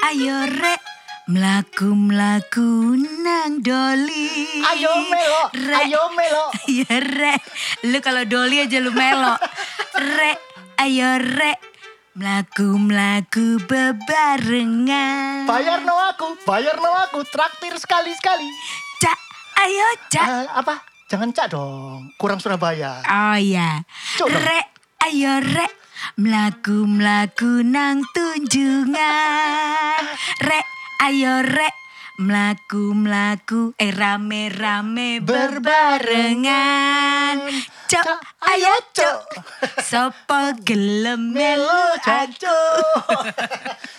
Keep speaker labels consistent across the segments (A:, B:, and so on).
A: Ayo rek mlaku-mlaku nang doli.
B: Ayo melo,
A: Rek.
B: ayo melo.
A: Iya rek, lu kalau doli aja lu melo. Rek, ayo rek, melaku-melaku bebarengan.
B: Bayar no aku, bayar no aku, traktir sekali-sekali.
A: Cak, ayo cak.
B: Eh, apa? Jangan cak dong, kurang Surabaya.
A: Oh ya,
B: Coba.
A: rek, ayo rek, melaku-melaku nang tunjungan. Rek, ayo rek, melaku-melaku, eh rame-rame berbarengan. Cok,
B: Cok,
A: ayo
B: ayo,
A: cok,
B: cok.
A: sopo gelem melu
B: Janco.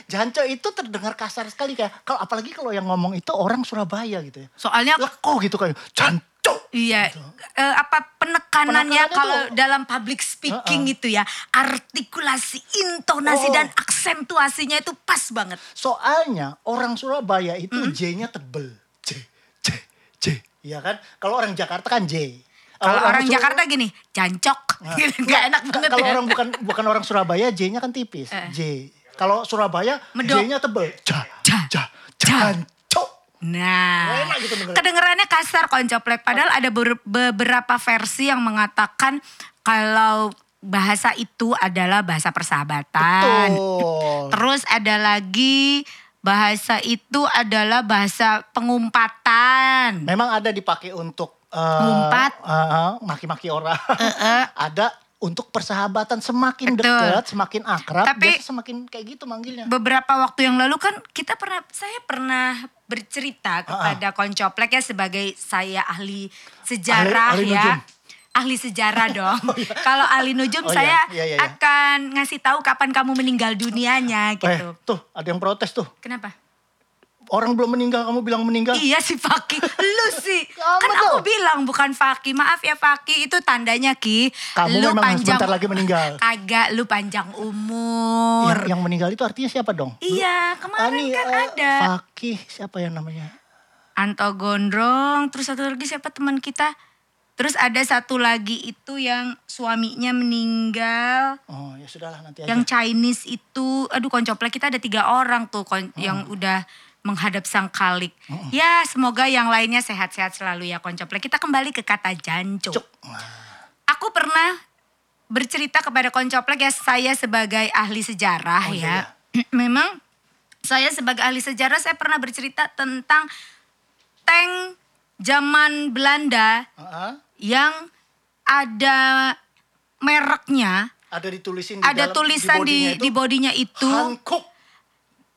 B: Janco itu terdengar kasar sekali kayak kalau apalagi kalau yang ngomong itu orang Surabaya gitu ya.
A: Soalnya
B: Leko gitu kayak Janco.
A: Iya, eh, apa penekanannya
B: Penekanannya
A: kalau
B: tuh-
A: dalam public speaking itu ya, artikulasi, intonasi
B: Oh.
A: dan aksentuasinya itu pas banget.
B: Soalnya orang Surabaya itu J-nya tebel. J, J, J. Iya kan? Kalau orang Jakarta kan J.
A: Kalau orang,
B: Sur-
A: Jakarta gini, jancok, Gitu, nggak enak banget.
B: Nah. Kalau
A: ya. Eh.
B: orang bukan bukan orang Surabaya J-nya kan tipis. J. Kalau Surabaya
A: Medok.
B: J-nya tebel. Ja,
A: Ja,
B: ja,
A: ja.
B: Janco.
A: Nah,
B: Enak gitu dengernya.
A: kedengerannya kasar koncoplek. Padahal ada ber- beberapa versi yang mengatakan kalau bahasa itu adalah bahasa persahabatan.
B: Betul.
A: Terus ada lagi bahasa itu adalah bahasa pengumpatan.
B: Memang ada dipakai untuk eh,
A: Ngumpat.
B: eh, eh, maki-maki orang. ada untuk persahabatan semakin
A: Betul.
B: dekat, semakin akrab,
A: Tapi-
B: biasa semakin kayak gitu manggilnya.
A: Beberapa waktu yang lalu kan kita pernah saya pernah
B: Ah,
A: bercerita kepada koncoplek ya sebagai saya ahli sejarah
B: Ahli-
A: ya.
B: ahli nujum. iya.
A: Ahli sejarah dong. Kalau ahli nujum
B: Oh,
A: saya
B: iya. Iya, iya, iya.
A: akan ngasih tahu kapan kamu meninggal dunianya gitu.
B: Eh, tuh ada yang protes tuh.
A: Kenapa?
B: Orang belum meninggal kamu bilang meninggal.
A: Iya si Faki, lu sih.
B: Kamu
A: kan aku
B: tuh.
A: bilang bukan Faki. Maaf ya Faki, itu tandanya Ki.
B: Kamu
A: lu
B: memang
A: panjang,
B: sebentar lagi meninggal. Iya,
A: Kagak, lu panjang umur.
B: Yang, yang meninggal itu artinya siapa dong?
A: Iya, kemarin
B: Ani,
A: kan
B: eh,
A: ada.
B: Fakih siapa yang namanya?
A: Anto Gondrong, terus satu lagi siapa teman kita. Terus ada satu lagi itu yang suaminya meninggal.
B: Oh ya sudahlah nanti aja.
A: Yang Chinese itu, aduh koncoplek kita ada tiga orang tuh kon- yang udah menghadap sang kalik. Ya semoga yang lainnya sehat-sehat selalu ya koncoplek. Kita kembali ke kata janco.
B: Cuk. Nah,
A: Aku pernah bercerita kepada koncoplek ya saya sebagai ahli sejarah
B: Oh,
A: ya.
B: iya,
A: Memang saya sebagai ahli sejarah saya pernah bercerita tentang tank zaman Belanda
B: Heeh.
A: yang ada mereknya,
B: Ada ditulisin di
A: ada
B: dalam-
A: tulisan di di
B: bodinya
A: bodinya itu,
B: itu Hankook.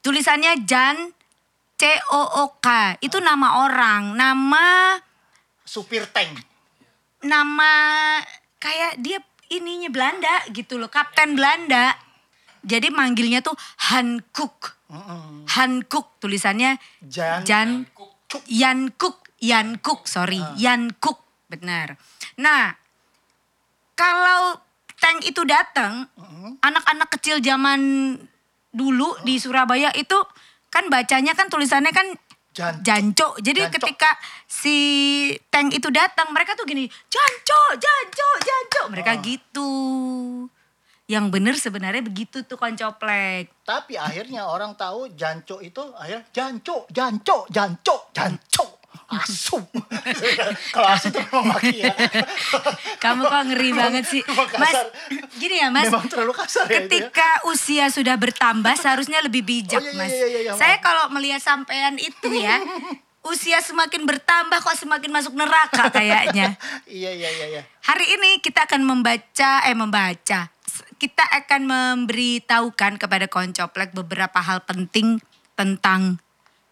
A: tulisannya Jan C O O K. Itu nama orang, nama
B: supir tank.
A: nama kayak dia ininya Belanda gitu loh, kapten Belanda. Jadi manggilnya tuh Han Cook. Han Cook tulisannya
B: Jan-
A: Jan Yan Cook, Yan Cook, sorry, Yan Cook, benar. Nah, kalau tank itu datang, anak-anak kecil zaman dulu di Surabaya itu kan bacanya kan tulisannya kan
B: Jan-
A: Janco. Jadi
B: Jancok.
A: ketika si tank itu datang, mereka tuh gini, Janco, Janco, Janco. Mereka
B: Oh.
A: gitu. Yang bener sebenarnya begitu tuh koncoplek.
B: Tapi akhirnya orang tahu Janco itu akhir Janco, Janco, Janco, Janco. Asu. Kalau asu itu memang maki ya.
A: Kamu kok ngeri banget sih.
B: Emang kasar.
A: Mas, gini ya mas.
B: Memang terlalu kasar ya itu ya.
A: Ketika usia sudah bertambah seharusnya lebih bijak
B: Oh, iya, iya,
A: mas.
B: iya, iya, iya,
A: Saya kalau melihat sampean itu ya. usia semakin bertambah kok semakin masuk neraka kayaknya.
B: Iya, iya, iya, iya.
A: Hari ini kita akan membaca, eh membaca. S- Kita akan memberitahukan kepada koncoplek beberapa hal penting tentang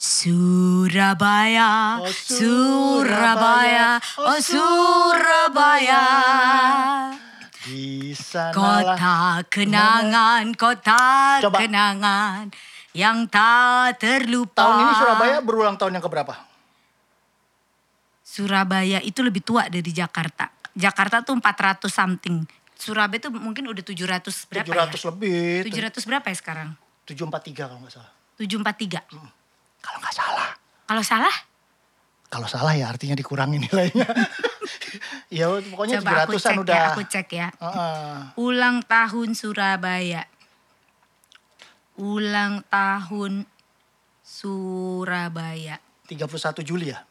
A: Surabaya,
B: Oh,
A: Surabaya,
B: Surabaya,
A: oh Surabaya.
B: Di sanalah
A: Kota kenangan, kota
B: Coba.
A: kenangan yang tak terlupa.
B: Tahun ini Surabaya berulang tahun yang keberapa?
A: Surabaya itu lebih tua dari Jakarta. Jakarta tuh 400 something. Surabaya tuh mungkin udah 700 berapa
B: 700
A: ya?
B: lebih.
A: 700 berapa ya sekarang?
B: 743 kalau nggak salah.
A: 743.
B: Kalau nggak salah.
A: Kalau salah
B: Kalau salah ya artinya dikurangin nilainya. ya pokoknya
A: coba aku
B: 700-an
A: cek
B: udah.
A: ya, aku cek ya.
B: Heeh.
A: Ulang tahun Surabaya. Ulang tahun Surabaya.
B: 31 Juli ya?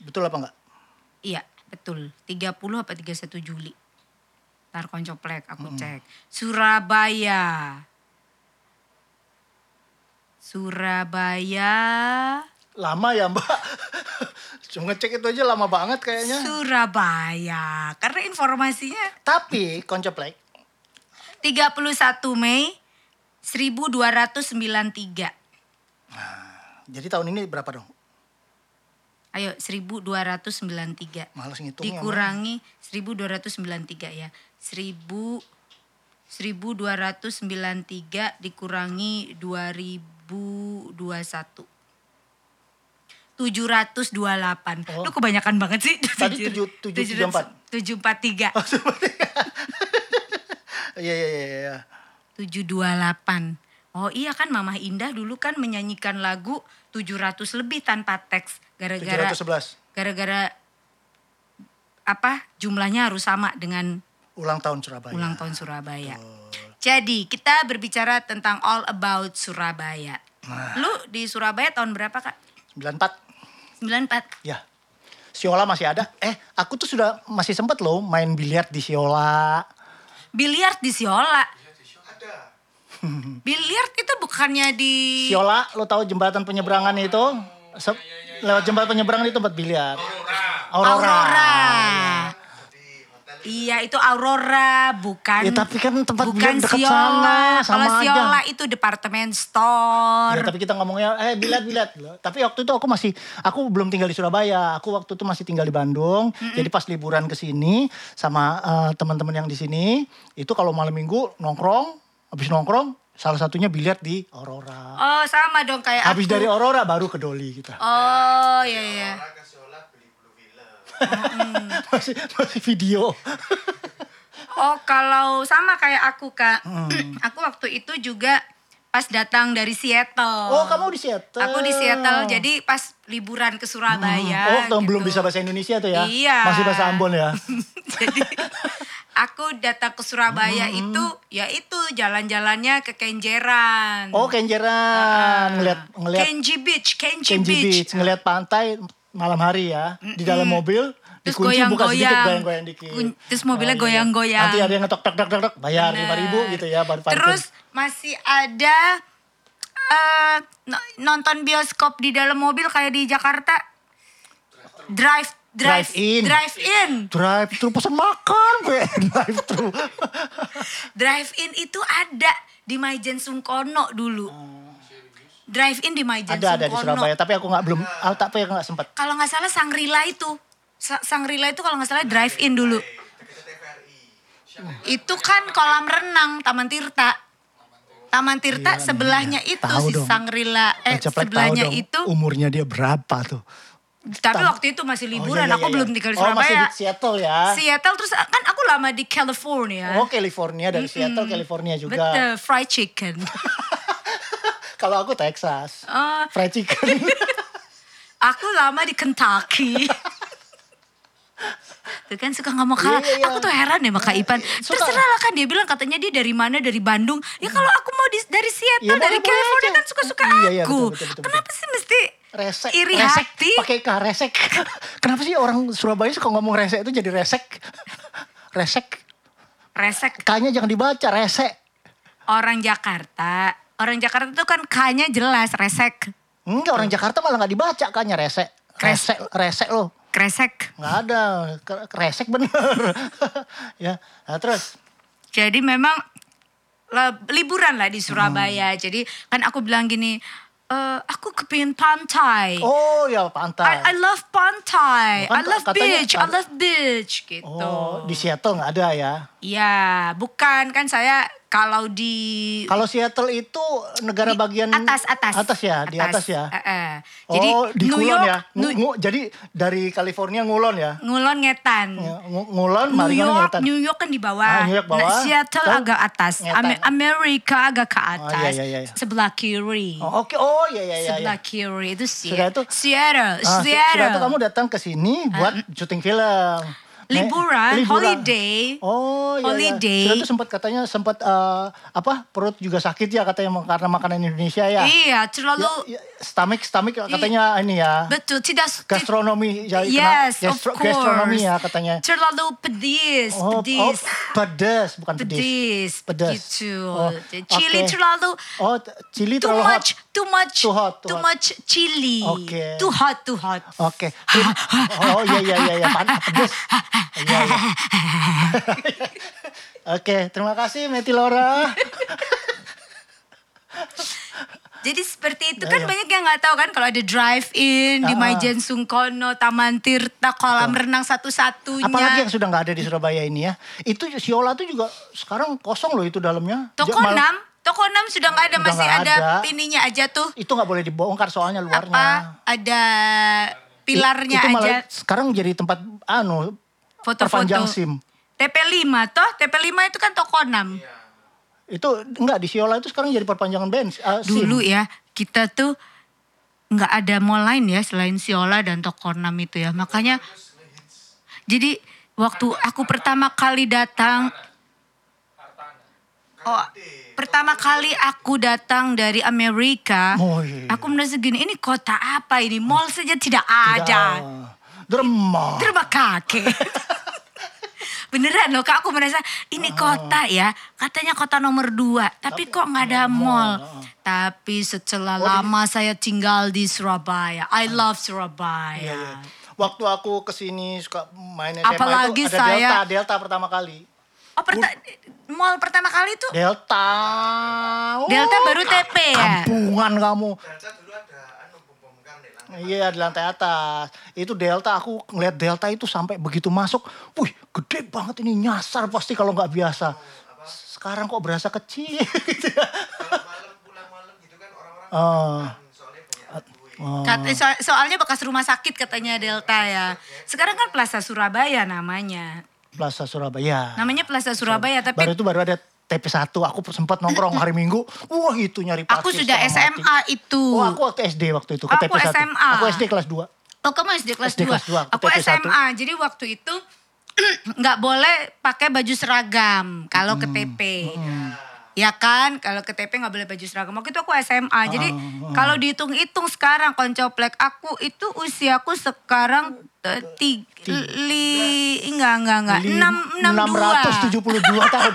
B: Betul apa enggak?
A: Iya, betul. 30 apa 31 Juli. Ntar koncoplek aku
B: Hmm.
A: cek. Surabaya. Surabaya.
B: Lama ya mbak? Cuma ngecek itu aja lama banget kayaknya.
A: Surabaya. Karena informasinya
B: Tapi konceplek
A: 31 Mei 1293.
B: Jadi tahun ini berapa dong?
A: Ayo 1293.
B: Males ngitungnya. Mbak.
A: dikurangi 1293 ya. 1000 1293 dikurangi 2021. 728.
B: Oh.
A: Lu kebanyakan banget sih.
B: Tadi tujuh- tujuh tiga empat.
A: 743.
B: Iya iya iya. iya.
A: 728. Oh iya kan Mamah Indah dulu kan menyanyikan lagu 700 lebih tanpa teks gara-gara
B: 711
A: gara-gara apa jumlahnya harus sama dengan
B: ulang tahun Surabaya.
A: ulang tahun Surabaya. Jadi kita berbicara tentang all about Surabaya. Lu di Surabaya tahun berapa kak?
B: 94.
A: 94.
B: Ya. Siola masih ada. Eh, aku tuh sudah masih sempet loh main biliar di Siola.
A: Biliar di Siola. Biliar itu bukannya di
B: Siola, lo tahu jembatan penyeberangan itu? Se- Lewat jembatan penyeberangan itu tempat biliar. Aurora.
A: Aurora. Ya. Iya itu Aurora bukan.
B: Ya, tapi kan tempat
A: bukan
B: biliar dekat
A: Siola.
B: sana, sama
A: Kalau
B: aja.
A: Siola itu departemen
B: Ya,
A: store.
B: tapi kita ngomongnya eh bilat bilat Loh, tapi waktu itu aku masih aku belum tinggal di Surabaya aku waktu itu masih tinggal di Bandung jadi pas liburan ke sini sama eh, teman-teman yang di sini itu kalau malam minggu nongkrong habis nongkrong salah satunya biliar di Aurora
A: Oh sama dong kayak
B: habis
A: aku.
B: dari Aurora baru ke Doli kita
A: Oh iya iya. Mm.
B: masih masih video
A: Oh kalau sama kayak aku kak,
B: Hmm.
A: aku waktu itu juga pas datang dari Seattle.
B: oh kamu di Seattle
A: Aku di Seattle, jadi pas liburan ke Surabaya.
B: oh waktu
A: gitu.
B: belum bisa bahasa Indonesia tuh ya
A: Iya.
B: masih bahasa Ambon ya
A: jadi aku datang ke Surabaya
B: Hmm.
A: itu, ya itu jalan-jalannya ke Kenjeran.
B: oh Kenjeran ngeliat ngeliat
A: Kenji Beach, Kenji,
B: Kenji
A: Beach.
B: Beach, ngelihat pantai malam hari ya di dalam mobil
A: Terus
B: dikunci buka sedikit
A: goyang-goyang.
B: goyang-goyang dikit
A: Kun- terus mobilnya
B: Oh, iya.
A: goyang-goyang.
B: nanti ada yang ngetok tok tok tok tok, bayar lima ribu
A: Bener.
B: gitu ya baru parkir
A: Terus masih ada eh, no- nonton bioskop di dalam mobil kayak di Jakarta. Drive drive
B: Drive in.
A: drive in.
B: drive thru pesan makan gue drive thru
A: Drive in itu ada di Maijen Sungkono dulu. Drive in di Maijen
B: Oh. ada ada di
A: Sungkono.
B: Surabaya tapi aku nggak belum ah, tapi aku nggak sempat
A: Kalau nggak salah Sangrila itu. Sa- Sangrila itu kalau nggak salah drive in dulu. Itu kan kolam renang Taman Tirta. Taman Tirta sebelahnya itu
B: Iya, Tahu
A: si
B: dong.
A: Sangrila eh
B: Ceplek tahu
A: sebelahnya
B: dong
A: itu
B: umurnya dia berapa tuh
A: Tapi waktu itu masih
B: Oh,
A: liburan,
B: iya, iya,
A: aku
B: iya.
A: belum tinggal di
B: Oh masih
A: Surabaya.
B: di Seattle ya.
A: Seattle terus kan aku lama di California.
B: Oh California dari Seattle California juga.
A: Betul, fried chicken.
B: Kalau aku Texas.
A: Eh,
B: Fried chicken.
A: aku lama di Kentucky. Tuh kan suka nggak mau kalah.
B: Iya, iya, iya.
A: Aku tuh heran deh sama Kak Ipan.
B: Suka.
A: Terserah lah kan dia bilang katanya dia dari mana, dari Bandung. Ya kalau aku mau di- dari Seattle,
B: Iya, boleh,
A: dari
B: boleh
A: California
B: aja.
A: kan suka-suka
B: Iya, iya,
A: aku.
B: betul, betul, betul,
A: Kenapa sih mesti
B: resek
A: iri
B: resek
A: hati?
B: pakai K resek kenapa sih orang Surabaya suka ngomong resek itu jadi resek resek
A: Resek
B: K-nya jangan dibaca resek
A: orang Jakarta. Orang Jakarta tuh kan K-nya jelas, resek.
B: enggak
A: Hmm.
B: orang Jakarta malah nggak dibaca K-nya resek resek resek loh
A: Kresek.
B: nggak ada K- resek bener ya nah, terus
A: Jadi memang le- liburan lah di
B: Hmm.
A: Surabaya. Jadi kan aku bilang gini, "Eh, aku kepingin pantai.
B: oh
A: I,
B: ya
A: I
B: pantai
A: love pantai.
B: Kan
A: I love
B: katanya-
A: beach. I love beach gitu.
B: oh di Seattle nggak ada ya
A: Iya, bukan kan saya kalau di
B: kalau Seattle itu
A: di
B: negara bagian
A: atas atas
B: atas ya di atas ya
A: Eh, eh. Jadi
B: oh di
A: New York,
B: Kulon ya Ngu-
A: Nu-
B: ngu- jadi dari California ngulon ya
A: ngulon ngetan.
B: Ya, ngu- ngulon
A: New
B: maringan
A: York,
B: ngetan.
A: New York kan di bawah.
B: Ah, New York bawah.
A: Nah, Seattle
B: Terus
A: agak atas.
B: ngetan.
A: Ame- Amerika agak ke atas.
B: iya, iya, iya.
A: Sebelah kiri.
B: Oh, Oke, oh iya iya iya. iya.
A: Sebelah kiri itu sih.
B: Sudah itu-
A: Seattle,
B: Ah, su-
A: Seattle. Ah.
B: sudah itu kamu datang ke sini buat syuting film. Ne-
A: liburan, holiday.
B: Oh, iya,
A: Holiday.
B: Iya. Sudah tuh sempat katanya sempat eh, apa perut juga sakit ya katanya karena makanan Indonesia ya.
A: Iya, terlalu
B: Ya, ya, stomach stomach katanya ini ya.
A: betul tidak
B: Gastronomi ya, kena
A: Yes, of
B: gastro-
A: course.
B: gastronomi ya katanya.
A: Terlalu pedis,
B: Oh,
A: pedis.
B: oh, pedes bukan pedis.
A: Pedis,
B: Pedas.
A: gitu.
B: Oh,
A: Chili
B: oke.
A: terlalu
B: Oh, t- chili
A: too
B: terlalu hot.
A: much, too much,
B: Too hot, too hot.
A: much chili.
B: Oke.
A: Too hot, too hot.
B: Oke. Oh iya iya iya iya pan- pedes. Iya iya. Oke, terima kasih Meti Laura.
A: Jadi seperti itu
B: Ya,
A: kan
B: ya.
A: banyak yang nggak tahu kan kalau ada drive in di
B: Ah, ah.
A: Majen Sungkono, Taman Tirta, kolam renang satu-satunya.
B: Apalagi yang sudah nggak ada di Surabaya ini ya. Itu Siola tuh juga sekarang kosong loh itu dalamnya.
A: Toko
B: Ja- mal-
A: 6, Toko 6 sudah nggak ada
B: Udah
A: masih
B: nggak
A: ada,
B: ada.
A: ininya aja tuh.
B: Itu nggak boleh dibongkar soalnya
A: Apa
B: luarnya.
A: ada
B: I-
A: pilarnya
B: itu malah
A: aja
B: Sekarang jadi tempat anu perpanjang
A: foto-foto.
B: SIM.
A: TP5 toh, TP5 itu kan Toko 6.
B: Itu enggak di Siola itu sekarang jadi perpanjangan band eh, SIM.
A: Dulu ya kita tuh nggak ada mall lain ya selain Siola dan Toko 6 itu ya. Makanya jadi waktu aku pertama kali datang Oh, pertama kali aku datang dari Amerika,
B: Oh, iya.
A: aku merasa gini, ini kota apa ini? Mall saja tidak
B: Tidak.
A: ada.
B: Dremel.
A: Terima kakek. Beneran loh kak, aku merasa ini
B: Oh.
A: kota ya, katanya kota nomor dua, tapi, kok nggak ada mall.
B: oh.
A: Tapi setelah lama saya tinggal di Surabaya, I love Surabaya.
B: Ah. Iya, iya. Waktu aku kesini suka main SMA
A: Apalagi
B: itu ada
A: saya-
B: Delta, Delta pertama kali. iya.
A: Oh perta- mall pertama kali itu
B: Delta. Oh,
A: Delta baru TP ya?
B: Kampungan kamu.
C: Delta dulu ada anu bom bom Karnel, lantai
B: Iya di lantai atas. Itu Delta aku ngeliat Delta itu sampai begitu masuk, wih gede banget ini nyasar pasti kalau
C: Oh,
B: nggak biasa. Sekarang kok berasa kecil.
C: malam pulang malam gitu kan orang-orang
B: Oh,
C: kan soalnya punya duit.
A: Kat- so- soalnya bekas rumah sakit katanya Delta ya. Sekarang kan Plaza Surabaya namanya.
B: Plaza Surabaya.
A: Namanya Plaza Surabaya Ya, tapi
B: Baru itu baru ada TP1 aku sempat nongkrong hari Minggu. Wah, itu nyari
A: aku
B: parkir
A: sudah
B: setengah mati.
A: SMA itu.
B: Oh, aku waktu SD waktu itu ke
A: Aku
B: TP1.
A: SMA.
B: Aku SD kelas 2.
A: Oh kamu SD kelas
B: SD
A: 2?
B: kelas dua, aku
A: Aku
B: TP1.
A: SMA, jadi waktu itu nggak boleh pakai baju seragam kalau ke TP. Ya kan, kalau ke TP nggak boleh baju seragam. Waktu itu aku SMA, jadi
B: Oh,
A: kalau dihitung-hitung sekarang koncoplek aku itu usiaku sekarang eh, ti- li, enggak, enggak, enggak, enam, enam dua.
B: 672 tahun.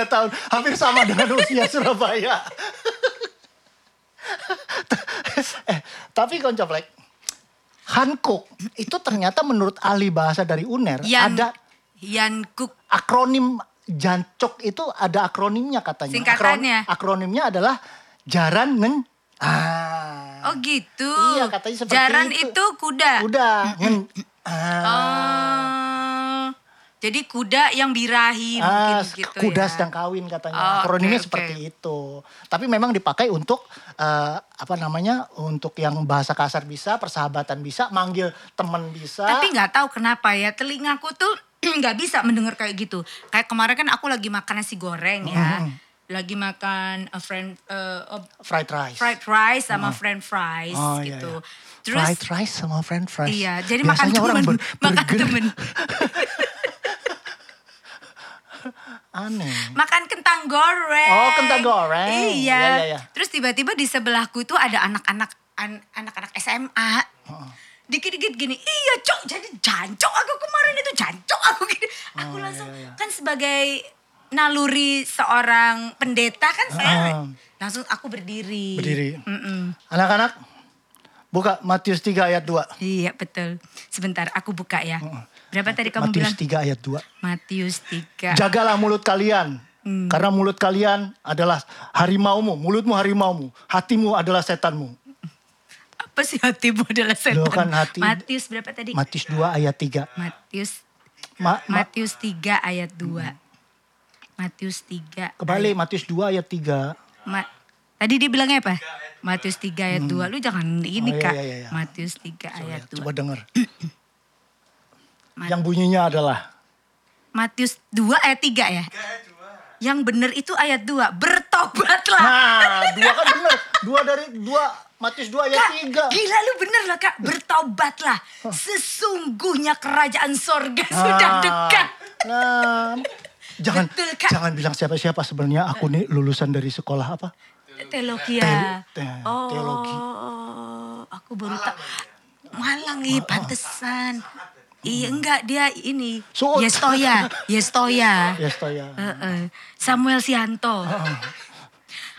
B: 672 tahun. Hampir sama dengan usia Surabaya. eh, tapi koncoplek. Hankuk itu ternyata menurut ahli bahasa dari UNER
A: Yan,
B: ada
A: Yan Cook.
B: akronim jancok itu ada akronimnya katanya.
A: Singkatannya.
B: akronimnya adalah jaran neng. Ah.
A: Oh gitu.
B: Iya, katanya seperti
A: Jaran
B: itu.
A: itu kuda.
B: Udah. ngen. Ah.
A: Oh, jadi kuda yang birahi mungkin
B: Ah,
A: gitu ya.
B: kuda sedang kawin katanya.
A: Oh, oke,
B: Akronimnya
A: oke.
B: seperti itu. Tapi memang dipakai untuk eh, apa namanya? Untuk yang bahasa kasar bisa, persahabatan bisa, manggil teman bisa.
A: Tapi nggak tahu kenapa ya telingaku tuh nggak bisa mendengar kayak gitu. Kayak kemarin kan aku lagi makan nasi goreng ya,
B: Mm-hmm.
A: lagi makan uh, friend uh, uh,
B: fried rice.
A: fried rice sama french fries
B: Mm-hmm. Oh, iya,
A: gitu.
B: iya.
A: Terus
B: fried rice sama french fries.
A: iya, jadi makan
B: Biasanya
A: temen,
B: orang ber-
A: makan
B: burger.
A: temen,
B: Aneh.
A: makan kentang goreng.
B: Oh, kentang goreng.
A: Iya.
B: Iya, iya, iya.
A: Terus tiba-tiba di sebelahku itu ada anak-anak an- anak-anak SMA. Dikit-dikit gini, iya cok jadi jancok aku kemarin itu jancok aku gini.
B: Oh,
A: Aku
B: iya,
A: langsung kan sebagai naluri seorang pendeta kan saya
B: Ah.
A: langsung aku berdiri.
B: Berdiri.
A: Mm-mm.
B: Anak-anak buka Matius 3 ayat 2.
A: Iya betul. Sebentar aku buka ya. Berapa tadi kamu
B: Matius
A: bilang? Ya.
B: 3 ayat 2.
A: Matius 3.
B: Jagalah mulut kalian.
A: Hmm.
B: Karena mulut kalian adalah harimaumu, mulutmu harimaumu, hatimu adalah setanmu.
A: Apa sih hatimu adalah setan?
B: Loh, kan hati-
A: Matius berapa tadi?
B: Matius 2 ayat 3.
A: Matius
B: Ma- ma- Hmm.
A: Matius 3 ayat 2. Matius 3.
B: kebalik Matius 2 ayat 3.
A: Ma- Tadi dia bilangnya apa? Matius 3 ayat 2. Lu jangan ini,
B: Oh, iya,
A: Kak.
B: iya, iya.
A: Matius 3 ayat 2.
B: Ya, Coba denger.
A: Mat-
B: Yang bunyinya adalah
A: Matius 2 ayat 3 ya? Yang bener itu ayat 2. Bertobat tobat lah.
B: Nah, dua kan bener. Dua dari dua, Matius dua ayat
A: Kak,
B: tiga.
A: gila lu bener lah kak, bertobatlah. Sesungguhnya kerajaan sorga sudah
B: Nah,
A: dekat.
B: Nah, jangan
A: Betul, Kak.
B: jangan bilang siapa-siapa sebenarnya aku nih lulusan dari sekolah apa?
A: Teologia.
B: Te- te-
A: oh,
B: teologi.
A: aku baru tak. Malang ih, pantesan. Iya enggak dia ini.
B: Suut.
A: Yestoya, Yestoya.
B: Ya, Stoya.
A: Heeh. Samuel Sianto.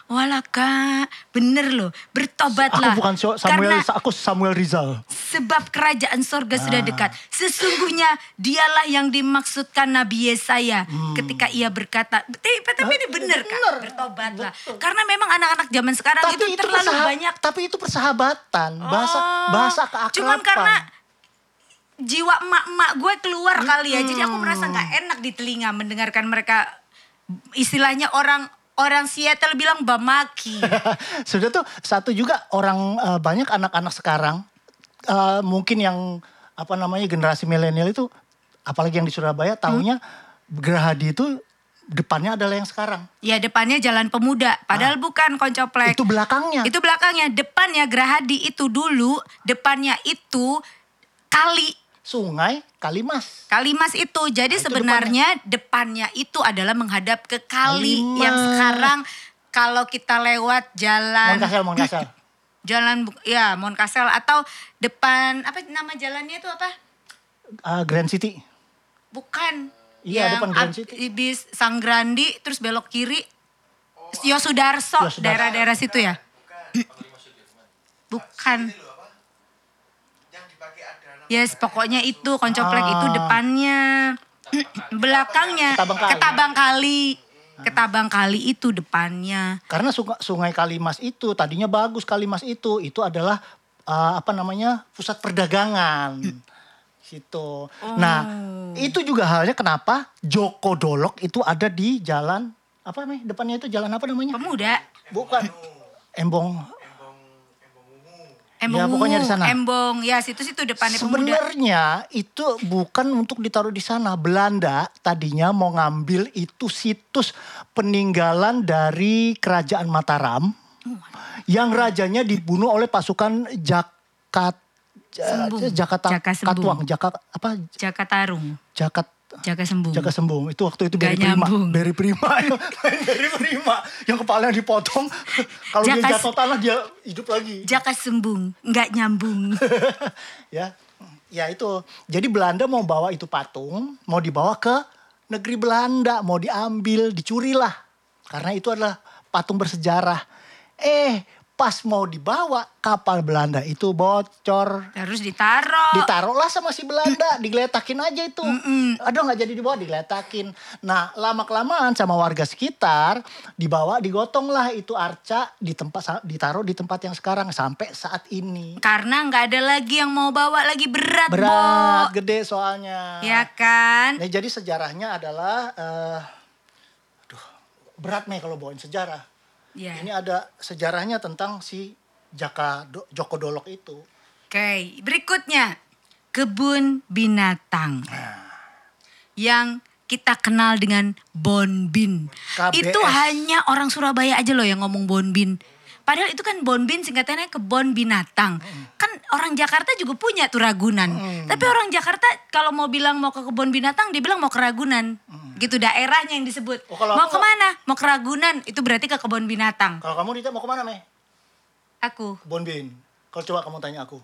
A: Walah kak, bener loh,
B: Aku
A: bertobatlah.
B: bukan Sio- Samuel,
A: Karena
B: aku Samuel Rizal.
A: sebab kerajaan sorga sudah
B: Ah.
A: dekat. Sesungguhnya dialah yang dimaksudkan Nabi Yesaya ketika ia berkata, tapi, tapi ini benar kak,
B: Hmm. Bener.
A: bertobatlah. Karena memang anak-anak zaman sekarang
B: Tapi
A: itu,
B: itu,
A: terlalu
B: persaha-
A: banyak.
B: Tapi itu persahabatan, bahasa
A: Oh,
B: bahasa keakraban.
A: Cuman karena jiwa emak-emak gue keluar kali ya, jadi aku
B: Hmm.
A: merasa nggak enak di telinga mendengarkan mereka istilahnya orang orang Seattle bilang bamaki.
B: Sudah tuh satu juga orang eh, banyak anak-anak sekarang eh, mungkin yang apa namanya generasi milenial itu apalagi yang di Surabaya taunya
A: Hmm.
B: Gerahadi itu depannya adalah yang sekarang.
A: ya depannya Jalan Pemuda, padahal bukan koncoplek.
B: Ah. Itu belakangnya.
A: Itu belakangnya, depannya Gerahadi itu dulu, depannya itu kali
B: Sungai Kalimas.
A: Kalimas itu. Jadi
B: Ah, itu
A: sebenarnya depannya. itu adalah menghadap ke kali
B: Kalimas.
A: yang sekarang kalau kita lewat jalan
B: Monkasel, Monkasel.
A: jalan Bu- ya Monkasel atau depan apa nama jalannya itu apa?
B: Eh, Grand City.
A: Bukan.
B: Iya,
A: yang
B: depan Grand
A: ab-
B: City.
A: Ibis Sanggrandi terus belok kiri
B: Oh,
A: Yosudarso,
B: Yosudarso.
A: daerah-daerah situ ya? Bukan.
C: Ini loh apa? Yang dipakai ada
A: Yes, pokoknya itu koncoplek itu depannya, belakangnya,
B: Ah. Ketabang Kali.
A: ketabang kali, ketabang kali itu depannya.
B: Karena sunga- Sungai Kalimas itu tadinya bagus Kalimas itu itu adalah eh, apa namanya pusat perdagangan situ. Nah itu juga halnya kenapa Joko Dolok itu ada di jalan apa namanya depannya itu jalan apa namanya?
A: Pemuda,
B: Bukan Embong.
A: embong,
B: Ya, pokoknya di
A: Ungu,
B: sana.
A: embong, ya situ-situ depannya pemuda.
B: Sebenarnya itu bukan untuk ditaruh di sana. Belanda tadinya mau ngambil itu situs peninggalan dari kerajaan Mataram yang rajanya dibunuh oleh pasukan Jakat Ja-
A: Sembung.
B: Jakarta
A: Jaka Sembung.
B: Katuang Jakarta apa
A: Jaka Tarung,
B: Jakat
A: Jaka Sembung.
B: Jaka Sembung itu waktu itu
A: Hmm. Gak
B: dari Prima
A: nyambung.
B: dari Prima dari Prima yang kepalanya dipotong kalau dia
A: Jaka-
B: jatuh tanah dia hidup lagi
A: Jaka Sembung, nggak nyambung.
B: ya ya itu jadi Belanda mau bawa itu patung mau dibawa ke negeri Belanda mau diambil dicurilah karena itu adalah patung bersejarah eh pas mau dibawa kapal Belanda itu bocor
A: Terus ditaruh.
B: ditaruhlah sama si Belanda digeletakin aja itu aduh nggak jadi dibawa digeletakin nah lama kelamaan sama warga sekitar dibawa digotonglah itu arca di tempat ditaruh di tempat yang sekarang sampai saat ini
A: Karena nggak ada lagi yang mau bawa lagi berat,
B: berat
A: Bo.
B: gede soalnya
A: Ya kan?
B: Nah, jadi sejarahnya adalah eh aduh, berat nih kalau bawain sejarah
A: Ya.
B: ini ada sejarahnya tentang si Jaka Do- Joko Dolok itu
A: Oke, berikutnya kebun binatang
B: Ah.
A: yang kita kenal dengan bonbin.
B: KBS.
A: Itu hanya orang Surabaya aja loh yang ngomong bonbin. Padahal itu kan bonbin singkatannya kebun binatang.
B: Hmm.
A: Kan orang Jakarta juga punya tuh Ragunan. Tapi orang Jakarta kalau mau bilang mau ke kebun binatang dia bilang mau ke Ragunan. Gitu daerahnya yang disebut.
B: Hmm. Oh, kalau
A: mau
B: aku-
A: kemana? Mau ke Ragunan. Itu berarti ke kebun binatang.
B: kalau kamu Dita mau kemana Meh?
A: Aku
B: Bonbin kalau coba kamu tanya aku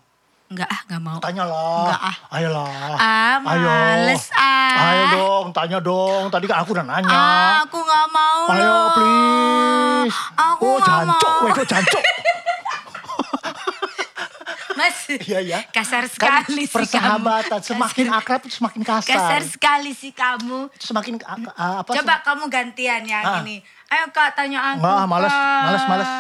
A: nggak ah nggak mau.
B: tanyalah
A: Enggak, ah.
B: ayolah
A: Ah, males, ah.
B: ayo dong tanya dong tadi kan aku udah nanya
A: Ah, aku nggak mau
B: ayo
A: loh.
B: please
A: Aku
B: oh
A: nggak
B: jancok
A: mau.
B: weh kok jancok
A: Mas,
B: Iya, iya.
A: kasar
B: kan
A: sekali sih
B: persahabatan
A: kamu.
B: semakin
A: kasar,
B: akrab semakin
A: kasar
B: kasar
A: sekali sih kamu.
B: semakin ak- apa sih?
A: Coba kamu gantian yang
B: Ah.
A: ini. Ayo kak tanya aku.
B: Nggak, males,
A: Kak.
B: males, males.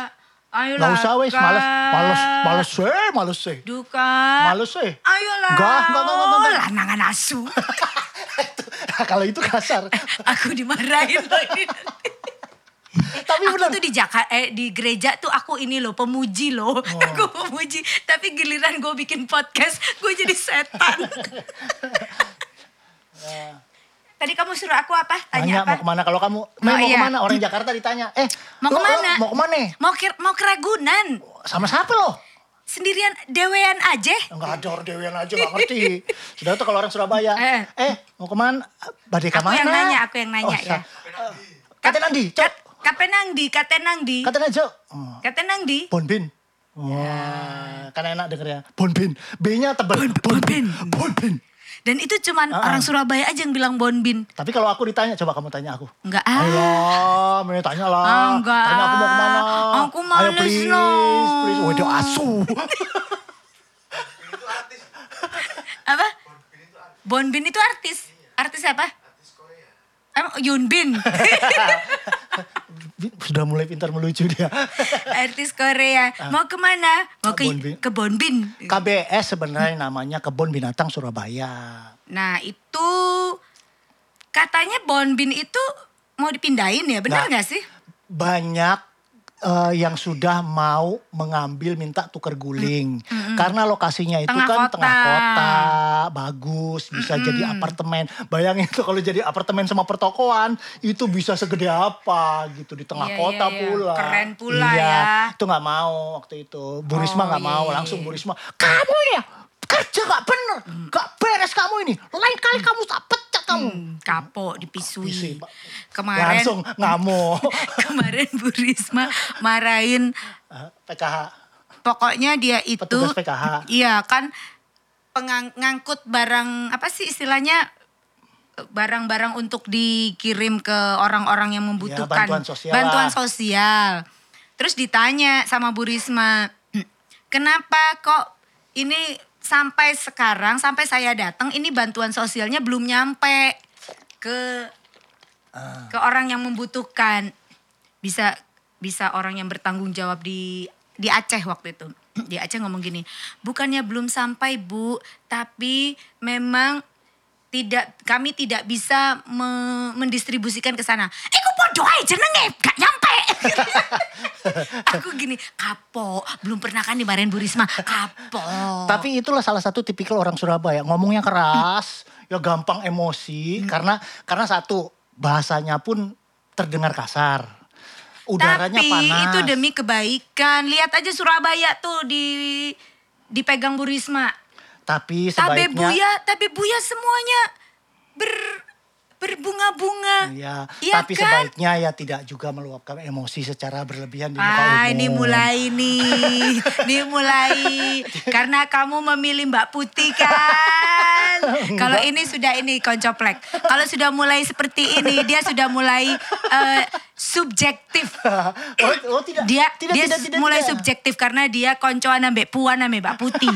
A: Ayolah.
B: Gak usah wes,
A: Kak.
B: males, males, males eh, males eh.
A: Duka.
B: Males eh.
A: Ayolah.
B: Nggak, nggak, nggak, nggak, nggak.
A: Oh, lanangan asu.
B: Kalau itu kasar.
A: aku dimarahin lagi.
B: Tapi
A: Aku
B: benar.
A: tuh di Jaka, eh, di gereja tuh aku ini loh pemuji loh. Aku pemuji. Tapi giliran gue bikin podcast, gue jadi setan. Tadi kamu suruh aku apa?
B: Tanya
A: Tanya apa?
B: mau kemana kalau kamu Mei, mau
A: iya.
B: kemana orang Jakarta ditanya eh
A: Mau
B: lo- lo
A: kemana?
B: mau kemana
A: Mau ke, mau ke Ragunan.
B: sama siapa lo
A: Sendirian dewean aja.
B: Enggak ada orang dewean aja gak ngerti sudah tuh kalau orang Surabaya eh,
A: Eh.
B: mau kemana badai
A: Aku
B: kemana
A: yang nanya, aku yang nanya ya.
B: kata Nandi cok
A: Katenang di, katenang di.
B: kata Nandi cok Oh,
A: Katenang di.
B: Bonbin
A: Ya.
B: Wah, karena enak dengernya. Bonbin. B-nya tebel. Bonbin. Bonbin.
A: Dan itu cuman
B: Ah.
A: orang Surabaya aja yang bilang Bonbin.
B: Tapi kalau aku ditanya, coba kamu tanya aku.
A: Enggak ah.
B: Alah, Mei tanya lah.
A: Enggak.
B: Tanya aku mau kemana.
A: Aku
B: Ayo
A: males
B: please,
A: dong.
B: please. Waduh, asu.
C: Itu artis,
A: Apa? Bonbin itu artis. Artis apa?
C: artis Korea.
A: Emang Yunbin.
B: Sudah mulai pintar melucu dia.
A: artis Korea. Mau kemana? Mau ke
B: Bonbin.
A: ke Bonbin.
B: KBS sebenarnya namanya Kebun Binatang Surabaya.
A: Nah itu katanya Bonbin itu mau dipindahin ya, benar
B: Nggak.
A: nggak sih?
B: Banyak eh, yang sudah mau mengambil minta tuker guling karena lokasinya itu
A: Mm, Tengah
B: kan
A: kota. Mm,
B: tengah kota bagus bisa jadi apartemen bayangin tuh kalau jadi apartemen sama pertokoan itu bisa segede apa gitu di tengah
A: Iya,
B: kota
A: iya, iya.
B: pula
A: Keren pula
B: Iya,
A: ya.
B: itu nggak mau waktu itu Bu Risma
A: Oh,
B: nggak
A: iya,
B: mau
A: iya,
B: langsung
A: iya. Mm.
B: Bu Risma kamu ya kerja nggak bener nggak beres kamu ini lain kali kamu tak pecat kamu
A: Hmm, Kapok dipisui.
B: Pisui, Pak.
A: Kemarin
B: langsung ngamuk
A: kemarin Bu Risma marahin
B: Eh, PKH
A: pokoknya dia itu
B: Petugas PKH.
A: Iya kan pengangkut barang apa sih istilahnya barang-barang untuk dikirim ke orang-orang yang membutuhkan
B: Iya, bantuan sosial
A: Bantuan
B: lah.
A: sosial. Terus ditanya sama Bu Risma, "Kenapa kok ini sampai sekarang sampai saya datang ini bantuan sosialnya belum nyampe ke
B: Ah.
A: ke orang yang membutuhkan bisa bisa orang yang bertanggung jawab di di Aceh waktu itu di Aceh ngomong gini bukannya belum sampai bu tapi memang tidak kami tidak bisa me- mendistribusikan ke sana Iku podo ae jenenge gak nyampe aku gini kapok belum pernah kan dimarahin Bu Risma kapok
B: Tapi itulah salah satu tipikal orang Surabaya, ngomongnya keras, ya gampang
A: Hmm.
B: emosi karena karena satu bahasanya pun terdengar kasar. Udaranya
A: Tapi
B: panas.
A: itu demi kebaikan. Lihat aja Surabaya tuh di dipegang Bu Risma.
B: Tapi
A: Tabe
B: sebaiknya
A: Buya, Tabe Buya semuanya ber berbunga-bunga.
B: Iya,
A: Iya
B: tapi
A: kan?
B: sebaiknya ya tidak juga meluapkan emosi secara berlebihan di muka
A: Ah,
B: umum.
A: ini mulai nih. ini mulai. Karena kamu memilih Mbak Putih kan. Kalau ini sudah ini koncoplek. Kalau sudah mulai seperti ini, dia sudah mulai eh, subjektif.
B: oh, oh, tidak.
A: dia
B: tidak,
A: dia
B: tidak, tidak,
A: mulai
B: tidak.
A: subjektif karena dia koncoan ambek puan ambek Mbak Putih.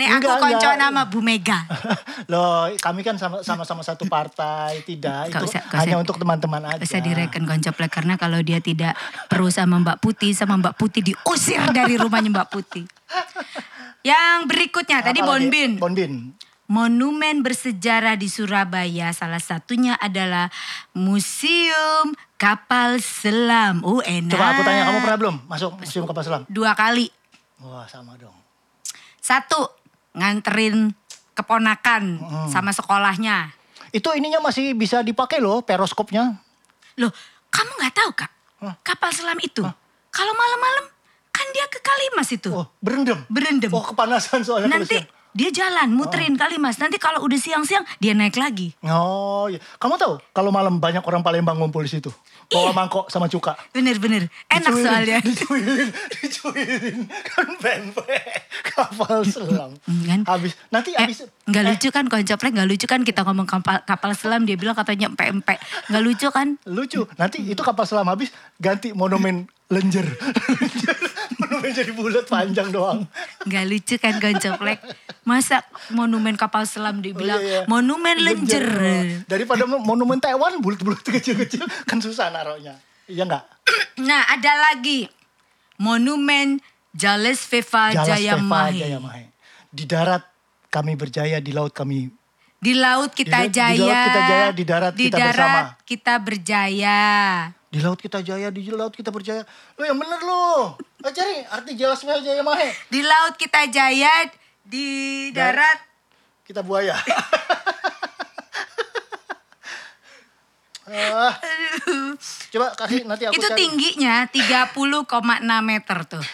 A: Nih aku
B: enggak,
A: koncoan
B: enggak.
A: sama Bu Mega.
B: Loh, kami kan sama- sama-sama satu partai, tidak.
A: Nggak
B: itu
A: usah, nggak
B: hanya
A: usah.
B: untuk teman-teman aja.
A: Bisa direken koncoplek karena kalau dia tidak pro sama Mbak Putih sama Mbak Putih diusir dari rumahnya Mbak Putih. Yang berikutnya tadi
B: Apalagi?
A: Bonbin.
B: Bonbin.
A: Monumen bersejarah di Surabaya salah satunya adalah Museum Kapal Selam. Oh enak.
B: Coba aku tanya, kamu pernah belum masuk Museum Kapal Selam?
A: Dua kali.
B: Wah, sama dong.
A: Satu, nganterin keponakan sama sekolahnya.
B: Itu ininya masih bisa dipakai loh, peroskopnya.
A: Loh, kamu nggak tahu kak? Kapal selam itu, kalau malam-malam kan dia ke Kalimas itu.
B: Oh, berendam.
A: Berendam.
B: Oh, kepanasan soalnya kalau
A: Nanti
B: siang.
A: dia jalan, muterin Kalimas. Nanti kalau udah siang-siang dia naik lagi.
B: Oh, iya. kamu tahu kalau malam banyak orang Palembang ngumpul di situ. Bawa mangkok sama cuka.
A: Bener-bener, enak
B: Dicuilin,
A: soalnya.
B: Dicuilin, dicuilin. Kan pempek. Kapal selam.
A: Hmm, kan?
B: Habis, nanti
A: Eh,
B: habis.
A: nggak lucu kan koncoplek, nggak lucu kan kita ngomong kapal, kapal selam. Dia bilang katanya empe-empe. Nggak lucu kan?
B: Lucu, nanti itu kapal selam habis ganti monumen lenjer. Lenjer. monumen jadi bulat panjang doang.
A: Gak lucu kan goncoplek. Masa monumen kapal selam dibilang
B: Iya, iya.
A: monumen lenjer.
B: Daripada mon- monumen Taiwan bulat-bulat kecil-kecil kan susah naruhnya. Iya enggak?
A: Nah ada lagi. Monumen Jales Veva
B: Jalas Teva
A: Jayamahe.
B: Jayamahe. Di darat kami berjaya, di laut kami.
A: Di laut kita
B: Di da-
A: jaya.
B: di laut kita jaya, di darat
A: Di
B: kita
A: darat
B: bersama.
A: kita berjaya.
B: Di laut kita jaya, di laut kita berjaya. Lo yang bener lo. Eh, Cari arti Jalas Teva Jayamahe.
A: Di laut kita jaya. Di
B: Dar-
A: darat
B: Kita buaya. Eh, coba kasih nanti aku
A: itu
B: cari.
A: tingginya 30,6 meter tuh.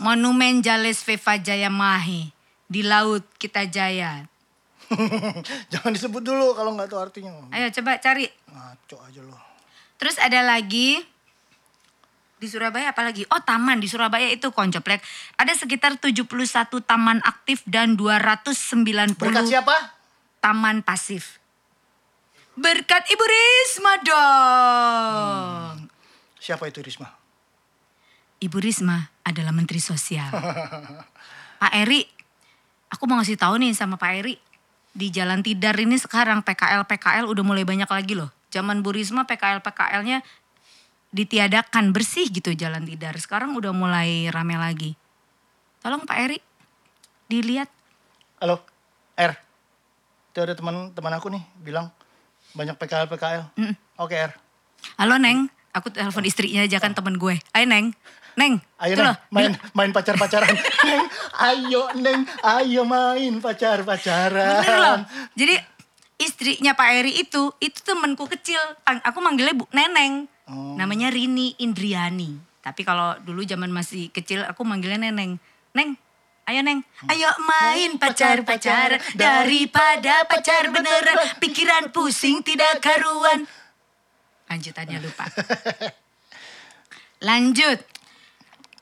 A: Monumen Jales Veva Jayamahe di Laut Kita Jaya.
B: Jangan disebut dulu kalau nggak tahu artinya.
A: Ayo coba cari.
B: Ngaco aja lo.
A: Terus ada lagi di Surabaya apalagi? Oh taman di Surabaya itu koncoplek. Ada sekitar 71 taman aktif dan 290
B: Berkat siapa?
A: taman pasif. Berkat Ibu Risma dong.
B: Siapa itu Risma?
A: Ibu Risma adalah Menteri Sosial. Pak Eri, aku mau ngasih tahu nih sama Pak Eri. Di Jalan Tidar ini sekarang PKL-PKL udah mulai banyak lagi loh. Zaman Bu Risma PKL-PKL-nya ditiadakan bersih gitu Jalan Tidar. Sekarang udah mulai rame lagi. Tolong Pak Eri, dilihat.
B: Halo, R. Itu ada teman teman aku nih bilang banyak PKL PKL. Oke R.
A: Halo Neng, aku telepon istrinya aja kan temen gue. Ayo Neng, Neng.
B: Ayo
A: itu
B: neng,
A: loh.
B: main main pacar pacaran. neng, ayo neng, ayo main pacar
A: Bener loh.
B: pacaran.
A: Jadi istrinya Pak Eri itu, itu temanku kecil. Pang- Aku manggilnya Bu Neneng. Namanya Rini Indriani. Tapi kalau dulu zaman masih kecil aku manggilnya Neneng. Neng, ayo Neng. Ayo Hmm. main pacar-pacaran daripada pacar beneran. Pikiran pusing tidak karuan. Lanjutannya lupa. Lanjut.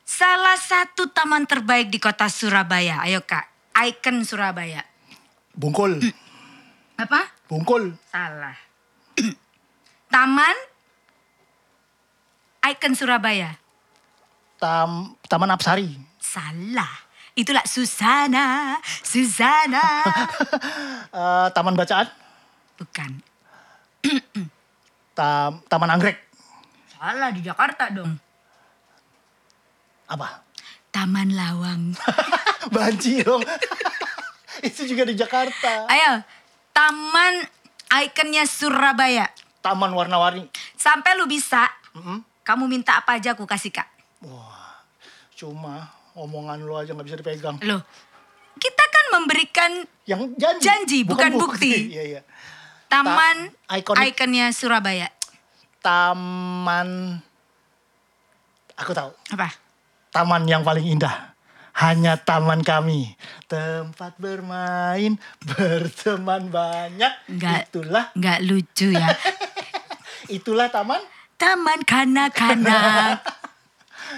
A: Salah satu taman terbaik di kota Surabaya. Ayo Kak, ikon Surabaya.
B: Bungkul,
A: Mm. Apa?
B: bungkul.
A: Salah. Taman Icon Surabaya.
B: Tam, Taman Apsari.
A: Salah. Itulah Susana, Susana.
B: Eh, taman bacaan.
A: Bukan.
B: Tam, taman anggrek.
A: Salah di Jakarta dong.
B: Apa?
A: Taman Lawang.
B: Banci dong. Itu juga di Jakarta.
A: Ayo, Taman Ikonnya Surabaya.
B: Taman warna-warni.
A: Sampai lu bisa, kamu minta apa aja aku kasih kak.
B: Wah, cuma omongan lu aja nggak bisa dipegang.
A: Loh, kita kan memberikan
B: Yang janji.
A: Janji, bukan bukti.
B: Iya, iya.
A: taman
B: ikonik.
A: Ikonnya Surabaya.
B: Taman. Aku tahu.
A: Apa?
B: Taman yang paling indah. Hanya taman kami. Tempat bermain, berteman banyak.
A: Nggak.
B: Itulah,
A: Nggak lucu ya.
B: itulah taman.
A: Taman kanak-kanak.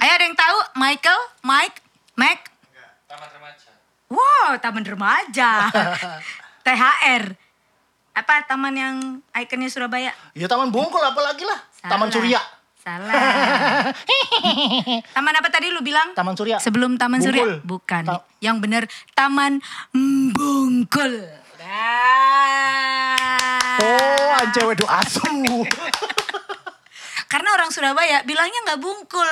A: Ayo ada yang tahu? Michael, Mike, Mac.
C: Enggak, taman remaja.
A: Wow, taman remaja. THR. Apa taman yang ikonnya Surabaya?
B: Ya taman bungkul apalagi lah. Taman
A: Salah.
B: Surya.
A: Salah. taman apa tadi lu bilang?
B: Taman Surya.
A: Sebelum Taman Surya?
B: Bungkul.
A: Bukan.
B: Ta-
A: yang benar Taman Bungkul.
B: Oh, anjay wedo asu.
A: Karena orang Surabaya bilangnya nggak bungkul,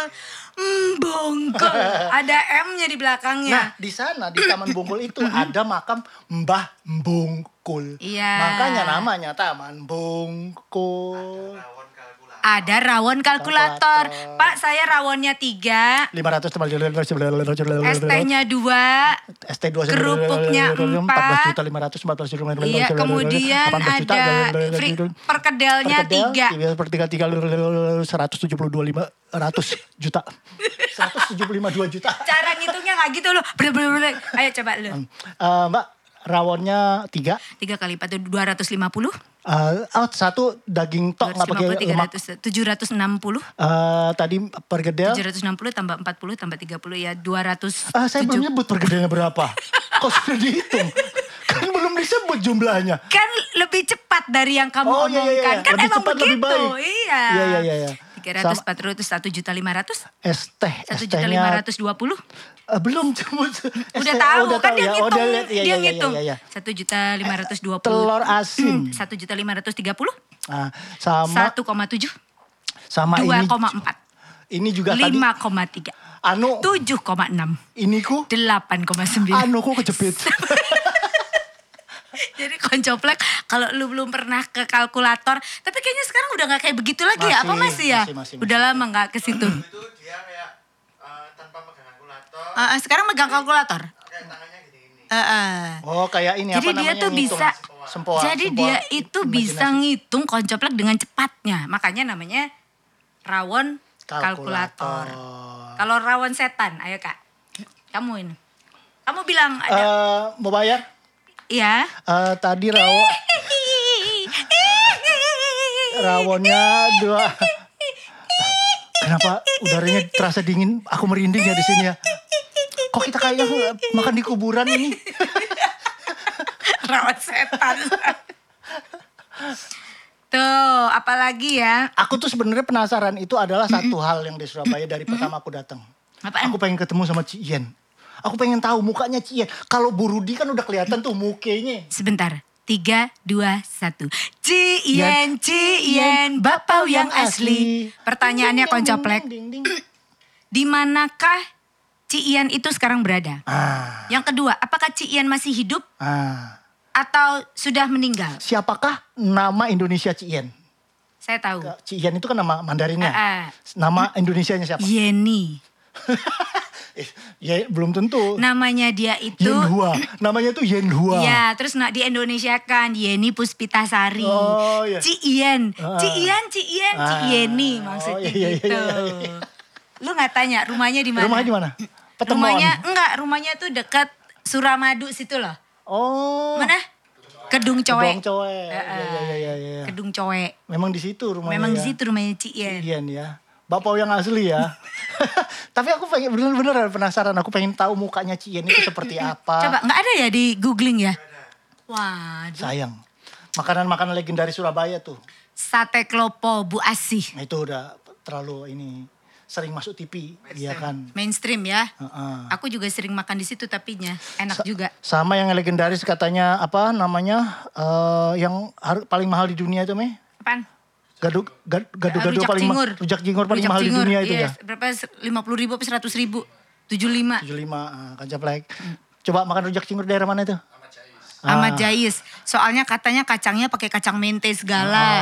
A: Hmm, bungkul. Ada M-nya di belakangnya.
B: Nah, di sana di Taman Bungkul itu ada makam Mbah Bungkul.
A: Iya.
B: Makanya namanya Taman Bungkul.
C: Rawon kalkulator.
A: Ada rawon kalkulator.
B: Kalkulator.
A: Pak, saya rawonnya tiga,
B: 500 tebal
A: ST-nya dua. Iya,
B: ST 2
A: Kerupuknya empat.
B: juta 500 14 juta
A: Iya, kemudian ada free, perkedelnya tiga.
B: tiga iya, tiga seratus tujuh puluh dua lima ratus juta seratus tujuh puluh lima dua juta
A: Cara ngitungnya nggak gitu loh. Ber- ber- ber- Ayo coba lu.
B: Eh, mbak rawonnya tiga
A: Tiga kali lipat itu 250.
B: Eh, oh, satu daging tok nggak pakai
A: 250,
B: lemak
A: 300, 760.
B: Eh, tadi pergedel
A: 760 tambah 40 tambah 30 ya 200.
B: Ah, saya belum nyebut pergedelnya berapa. Kok sudah dihitung? Kan belum disebut jumlahnya.
A: Kan lebih cepat dari yang kamu
B: Oh, iya,
A: omongkan.
B: iya, iya.
A: Kan
B: Lebih
A: emang
B: cepat,
A: begitu.
B: lebih baik.
A: Iya.
B: Iya, iya, iya, iya.
A: 300,
B: Sama-
A: 400, 1 juta 500.
B: Es teh, es
A: 1 juta
B: tehnya
A: 520.
B: eh, belum sebut. Es
A: Udah
B: teh-
A: tahu
B: udah
A: kan dia
B: ya. Oh,
A: ngitung,
B: lihat. Iya,
A: dia
B: iya, iya,
A: ngitung. Hmm.
B: iya, Eh, iya.
A: Satu juta lima ratus dua puluh,
B: Telur asin.
A: satu juta lima ratus tiga puluh,
B: Nah, sama
A: satu koma tujuh,
B: sama
A: dua
B: ini.
A: koma empat,
B: Ini juga tadi
A: lima koma tiga,
B: anu
A: tujuh koma enam,
B: iniku
A: delapan koma sembilan.
B: anu ku kejepit.
A: Jadi koncoplek kalau lu belum pernah ke kalkulator, tapi kayaknya sekarang udah nggak kayak begitu lagi ya? Apa
B: Masih,
A: masih ya?
B: masih, masih,
A: Udah lama nggak ke situ.
C: Itu dia kayak eh, tanpa megang kalkulator,
A: Eh, eh, sekarang megang kalkulator.
C: kayak tangannya gini-gini.
A: Eh, eh.
B: Oh, kayak ini
A: Jadi
B: apa
A: dia
B: namanya?
A: tuh
B: ngitung.
A: bisa
B: Sempoa.
A: Jadi
B: sempoa
A: dia itu bisa
B: imajinasi.
A: ngitung koncoplak dengan cepatnya. Makanya namanya rawon
B: Kalkulator.
A: kalkulator. Kalau rawon setan, ayo Kak. Kamu ini. Kamu bilang
B: Eh
A: ada
B: mau bayar?
A: iya.
B: Eh tadi rawo- rawonnya dua. Kenapa udaranya terasa dingin? Aku merinding ya di sini ya. Kok kita kayaknya makan di kuburan ini?
A: rawon setan. Tuh, apalagi ya?
B: Aku tuh sebenarnya penasaran itu adalah satu hal yang di Surabaya dari pertama aku datang.
A: Apaan?
B: Aku pengen ketemu sama Cien. Aku pengen tahu mukanya Cien. Kalau Bu Rudi kan udah kelihatan tuh mukanya.
A: Sebentar. Tiga, dua, satu. Cien, cien, bapau yang asli. Pertanyaannya koncoplek.
B: Ding, ding, ding, ding.
A: Di manakah Cian itu sekarang berada?
B: Ah,
A: Yang kedua, apakah Cian masih hidup
B: ah.
A: atau sudah meninggal?
B: Siapakah nama Indonesia Cien?
A: Saya tahu.
B: Cien itu kan nama Mandarinnya.
A: Ah, Iya. ah.
B: Nama Indonesianya siapa?
A: Yeni.
B: Eh, ya belum tentu.
A: Namanya dia itu
B: Yen Hua. Namanya tuh Yen Hua.
A: Nah, Iya, terus nak di Indonesia kan Yeni Puspitasari.
B: Oh, iya.
A: Cian,
B: Ah.
A: Cian, Cian,
B: Ah.
A: Cieni
B: Oh,
A: maksudnya
B: iya, iya,
A: gitu.
B: iya, iya.
A: Lu nggak tanya rumahnya di mana?
B: Rumahnya di mana? Petemon.
A: Rumahnya enggak, rumahnya tuh dekat Suramadu situ loh.
B: Oh.
A: Mana? Kedung
B: Kedong
A: Coe.
B: Coe.
A: Eh,
B: Iya, iya, iya, iya, iya.
A: Kedung Coe.
B: Memang di situ rumahnya.
A: Memang di
B: ya.
A: situ rumahnya Cian.
B: Iya nih ya. Bapau yang asli ya. Tapi aku pengen bener-bener penasaran. Aku pengen tahu mukanya Cien itu seperti apa.
A: Coba nggak ada ya di googling ya? Waduh.
B: Sayang. Makanan-makanan legendaris Surabaya tuh.
A: Sate klopo Bu Asih.
B: Nah, Itu udah terlalu ini sering masuk TV, iya kan.
A: Mainstream ya.
B: Heeh.
A: Aku juga sering makan di situ tapinya. Enak juga.
B: Sama yang legendaris katanya apa namanya eh, yang har- paling mahal di dunia itu meh?
A: Apaan?
B: Gaduk gad- gadu-gadu
A: Rujak
B: paling ma-
A: cingur. iya,
B: rujak cingur paling mahal di dunia itu ya.
A: Berapa? 50 ribu apa 100 ribu? 75.
B: 75 ah, kan Japlek.
A: Hmm.
B: Coba makan rujak cingur daerah mana itu? Ah.
A: Ahmad Jais. Soalnya katanya kacangnya pakai kacang mente segala.
B: Ah.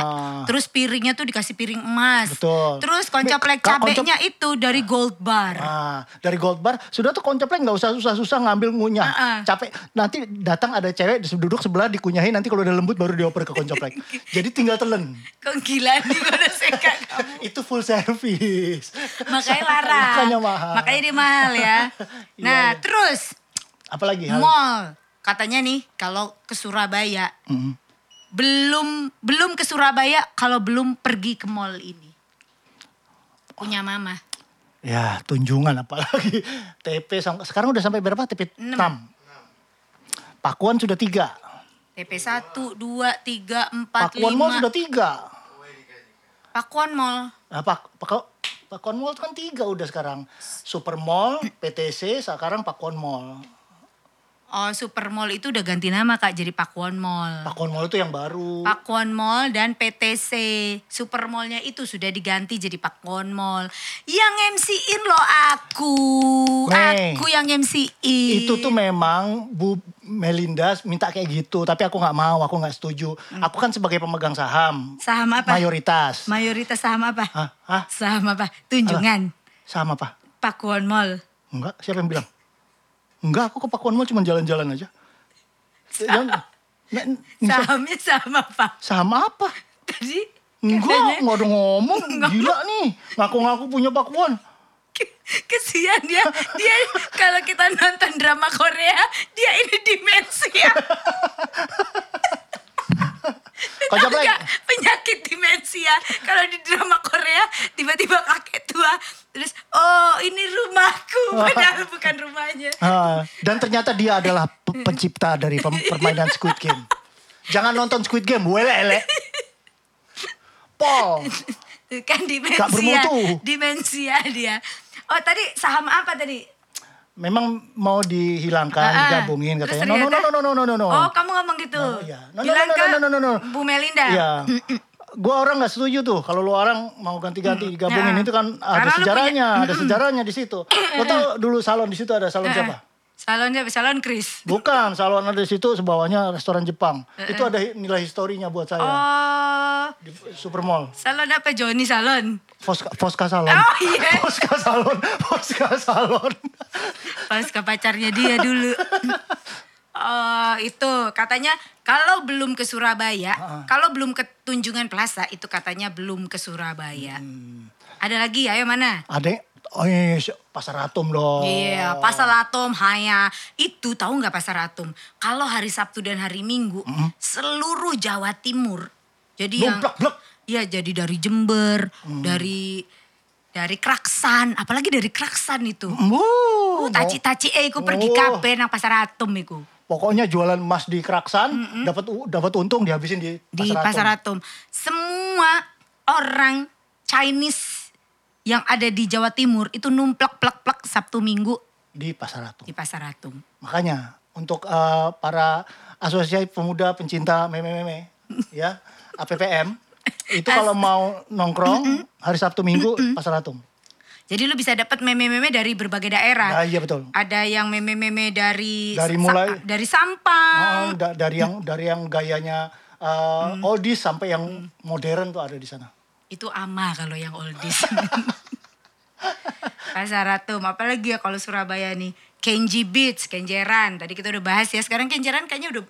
A: Terus piringnya tuh dikasih piring emas.
B: Betul.
A: Terus koncaplek
B: Ka- koncop-
A: cabenya itu dari gold bar.
B: Ah, dari Gold Bar sudah tuh koncopleng nggak usah susah-susah ngambil ngunyah.
A: Ah, ah.
B: Capek. Nanti datang ada cewek duduk sebelah dikunyahin nanti kalau udah lembut baru dioper ke koncopleng. Jadi tinggal telan.
A: Kok gila nih gue udah sekak.
B: Itu full service.
A: Makanya larang.
B: Makanya mahal.
A: Makanya dia mahal ya.
B: Iya,
A: Nah
B: iya.
A: terus
B: Apalagi hal
A: mall katanya nih kalau ke Surabaya
B: Mm.
A: belum belum ke Surabaya kalau belum pergi ke mall ini punya mama
B: Ya, tunjungan apalagi. TP sam- sekarang udah sampai berapa? TP 6. Pakuan sudah 3.
A: TP 1, 2, 3, 4,
B: Pakuan Mall
A: 5
B: sudah 3.
A: Pakuan Mall
B: Nah, Pak, Pak, Pakuan Mall kan tiga udah sekarang. Super Mall, PTC, sekarang Pakuan Mall.
A: Oh Super Mall itu udah ganti nama kak jadi Pakuan Mall
B: Pakuan Mall itu yang baru.
A: Pakuan Mall dan PTC Super Mallnya itu sudah diganti jadi Pakuan Mall Yang MC-in loh aku
B: Mei.
A: Aku yang MC-in
B: Itu tuh memang Bu Melinda minta kayak gitu, tapi aku nggak mau, aku nggak setuju. Aku kan sebagai pemegang saham,
A: Saham apa?
B: mayoritas.
A: Mayoritas saham apa?
B: Hah? Hah?
A: Saham apa? Tunjungan
B: Sama Pak?
A: Pakuan Mall
B: Enggak, siapa yang bilang? Enggak, aku ke Pakuan Mall cuma jalan-jalan aja. Jangan- Nek-
A: Sahamnya saham apa?
B: Sama apa?
A: Tadi
B: Enggak,
A: katanya-
B: nggak ada ngomong, gila nih. Ngaku-ngaku punya Pakuan.
A: kesian dia dia kalau kita nonton drama Korea dia ini ya. demensia
B: Kocok lagi.
A: Enggak, penyakit demensia kalau di drama Korea tiba-tiba kakek tua terus oh ini rumahku padahal bukan rumahnya
B: Ah, dan ternyata dia adalah pe- pencipta dari pem- permainan Squid Game. Jangan nonton Squid Game, wele-ele. Paul,
A: Tuh kan
B: Gak
A: demensia
B: bermutu.
A: demensia dia oh tadi saham apa tadi
B: memang mau dihilangkan,
A: Ah, ah.
B: digabungin
A: Terus
B: katanya. No, no, no,
A: ternyata-
B: no, no, no, no, no.
A: oh kamu ngomong gitu
B: No, iya. No, no,
A: bilang
B: no, no,
A: ke
B: no, no, no, no.
A: Bu Melinda
B: Iya. Gue orang nggak setuju tuh kalau lu orang mau ganti-ganti
A: Ya.
B: digabungin itu kan ada
A: Karena lu
B: sejarahnya,
A: punya-
B: ada sejarahnya di situ. Lo tau dulu salon di situ ada
A: Eh,
B: salon siapa?
A: salonnya salon Chris
B: Bukan, salon ada di situ sebawahnya restoran Jepang. Itu ada hi- nilai historinya buat saya
A: oh
B: di Supermall.
A: Salon apa Joni Salon?
B: Fosca, Fosca Salon.
A: Oh, iya.
B: Fosca Salon. Fosca Salon.
A: Pas ke pacarnya dia dulu. eh, itu katanya kalau belum ke Surabaya, kalau belum ke Tunjungan Plaza itu katanya belum ke Surabaya.
B: Hmm.
A: Ada lagi ya? ayo mana?
B: Ada oh iya, iya, pasar atom dong.
A: Iya,
B: Oh.
A: Pasar Atom, Haya. Itu tahu nggak Pasar Atom? Kalau hari Sabtu dan hari Minggu, seluruh Jawa Timur. Jadi yang
B: Blok-blok.
A: Iya, jadi dari Jember,
B: Mm.
A: dari dari Kraksan, apalagi dari Kraksan itu.
B: Wuh,
A: Oh, taci-taci eh aku pergi
B: Mm. Oh.
A: kape nang Pasar Atom iku.
B: Pokoknya jualan emas di Keraksan dapat u- dapat untung dihabisin di pasar
A: di
B: atom.
A: Pasar Atom. Semua orang Chinese yang ada di Jawa Timur itu numplak plak plak Sabtu Minggu
B: Di pasar atom.
A: di Pasar Atom.
B: Makanya untuk eh, para asosiasi pemuda pencinta meme-meme ya, APPM itu kalau mau nongkrong hari Sabtu Minggu pasar atom.
A: Jadi lu bisa dapat meme-meme dari berbagai daerah.
B: Nah, iya betul.
A: Ada yang meme-meme dari
B: Dari mulai-
A: dari sampah.
B: Oh, da- dari yang dari yang gayanya eh, oldies sampai yang modern tuh ada di sana.
A: Itu ama kalau yang oldies. Pasar Atom, apalagi ya kalau Surabaya nih. Kenji Beach, Kenjeran. Tadi kita udah bahas ya. Sekarang Kenjeran kayaknya udah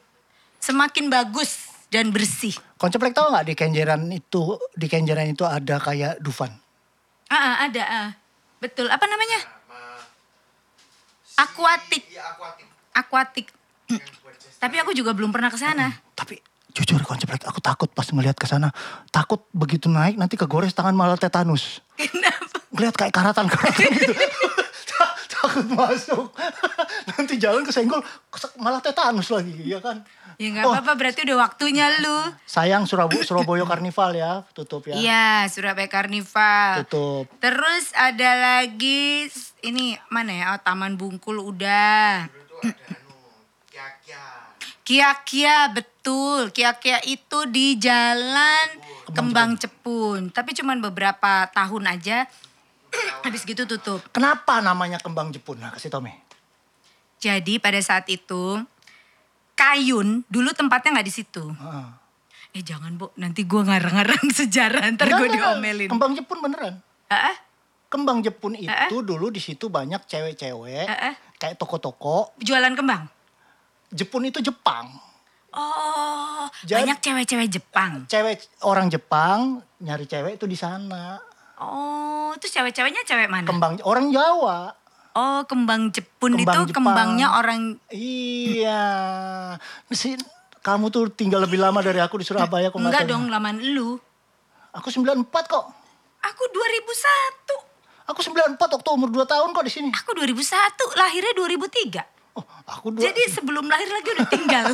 A: semakin bagus dan bersih.
B: Konceplek tau nggak di Kenjeran itu di Kenjeran itu ada kayak Dufan.
A: Ah, ah, ada. ah. Betul. Apa namanya?
C: Sama
A: Akuatik.
C: iya akuatik
A: Akuatik. Tapi aku juga belum pernah ke sana.
B: Tapi jujur konceplek aku takut pas ngelihat ke sana. Takut begitu naik nanti kegores tangan malah tetanus.
A: Kenapa?
B: Ngelihat kayak karatan-karatan gitu. Ta- takut masuk. nanti jalan kesenggol kesek- malah tetanus lagi, ya kan?
A: Ya nggak
B: Oh,
A: apa-apa, berarti udah waktunya lu.
B: sayang Surabaya Surabaya Karnival ya, tutup ya.
A: Iya, Surabaya Karnival.
B: Tutup.
A: Terus ada lagi s- ini mana ya? Oh, Taman Bungkul udah.
C: dulu tuh ada anu kia-kia
A: Kia-kia betul. Kia-kia itu di Jalan Kembang Cepun. Tapi cuman beberapa tahun aja. Habis gitu tutup.
B: Kenapa namanya kembang Jepun? Nah, kasih tau Mei.
A: Jadi pada saat itu Kayun dulu tempatnya nggak di situ.
B: Heeh.
A: Eh jangan bu, nanti gue ngarang-ngarang sejarah ntar gue
B: Enggak, enggak, enggak.
A: diomelin. Eh,
B: Kembang Jepun beneran.
A: Ah, ah,
B: Kembang Jepun itu dulu di situ banyak cewek-cewek
A: Heeh.
B: kayak toko-toko.
A: jualan kembang.
B: Jepun itu Jepang.
A: Oh,
B: Jadi-
A: banyak cewek-cewek Jepang.
B: Cewek orang Jepang nyari cewek itu di sana.
A: Oh, terus cewek-ceweknya cewek mana?
B: Kembang orang Jawa.
A: oh, kembang Jepun itu
B: Kembang Jepang.
A: kembangnya orang.
B: Iya. Mesin kamu tuh tinggal lebih lama dari aku di Surabaya kok nggak
A: Enggak
B: tahu.
A: dong, laman lu.
B: Aku 94 kok.
A: Aku 2001.
B: Aku 94 waktu umur 2 tahun kok di sini.
A: Aku 2001, lahirnya 2003.
B: Oh, aku dua.
A: Jadi sebelum lahir lagi udah tinggal.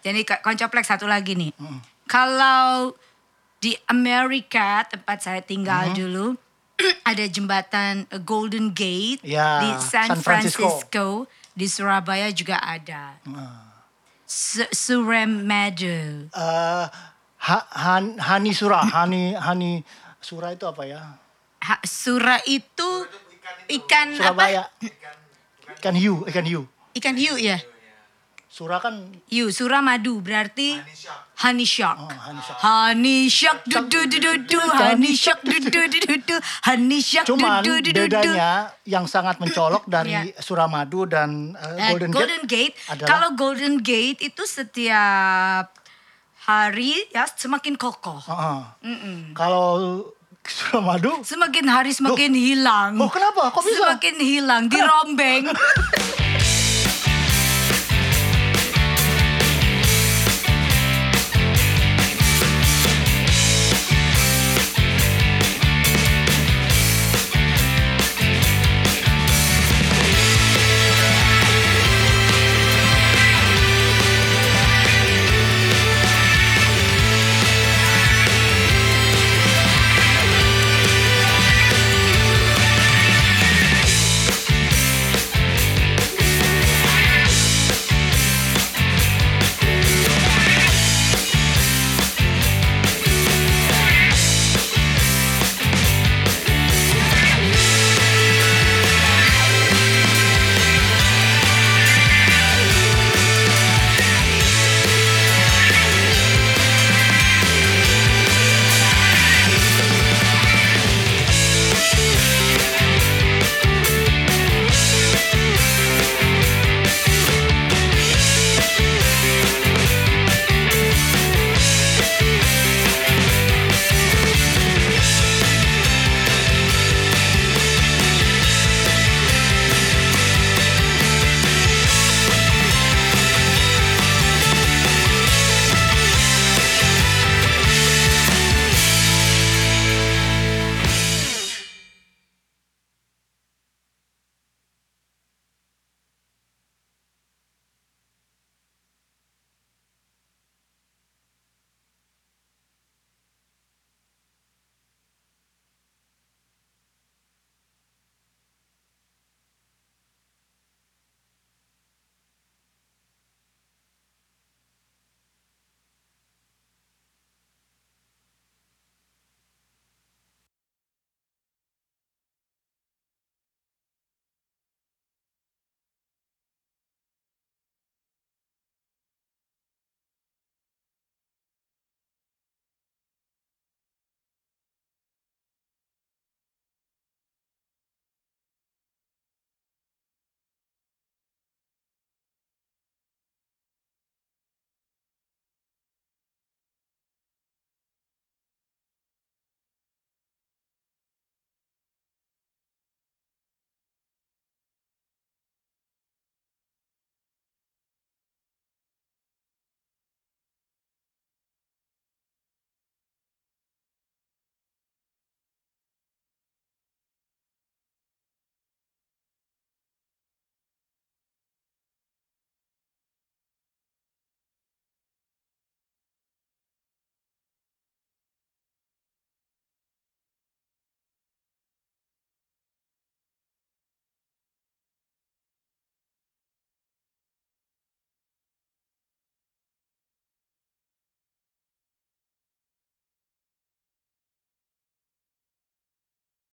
A: Jadi Ko- koncoplek satu lagi nih. Kalau di Amerika tempat saya tinggal dulu ada jembatan eh, Golden Gate
B: Ya,
A: di San,
B: San Francisco.
A: Francisco. di Surabaya juga ada. Su- Suramadu.
B: Eh, Ha- Han- Hani Sura, Hani Hani Sura itu apa ya?
A: Ha- Sura itu ikan apa?
B: Surabaya. Ikan hiu, ikan hiu.
A: Ikan hiu ya.
B: Sura kan
A: Hiu Suramadu berarti honey shark.
B: honey
A: honey shark. du du du du du honey shark du du du du du honey shark du
B: cuman
A: du du du du.
B: bedanya yang sangat mencolok dari
A: Iya.
B: Suramadu dan eh,
A: Eh,
B: Golden,
A: Golden Gate.
B: Gate. adalah-
A: Kalau Golden Gate itu setiap hari ya semakin kokoh.
B: Heeh. Kalau Suramadu
A: Semakin hari semakin hilang.
B: Oh, kenapa? Kok bisa?
A: Semakin hilang, dirombeng.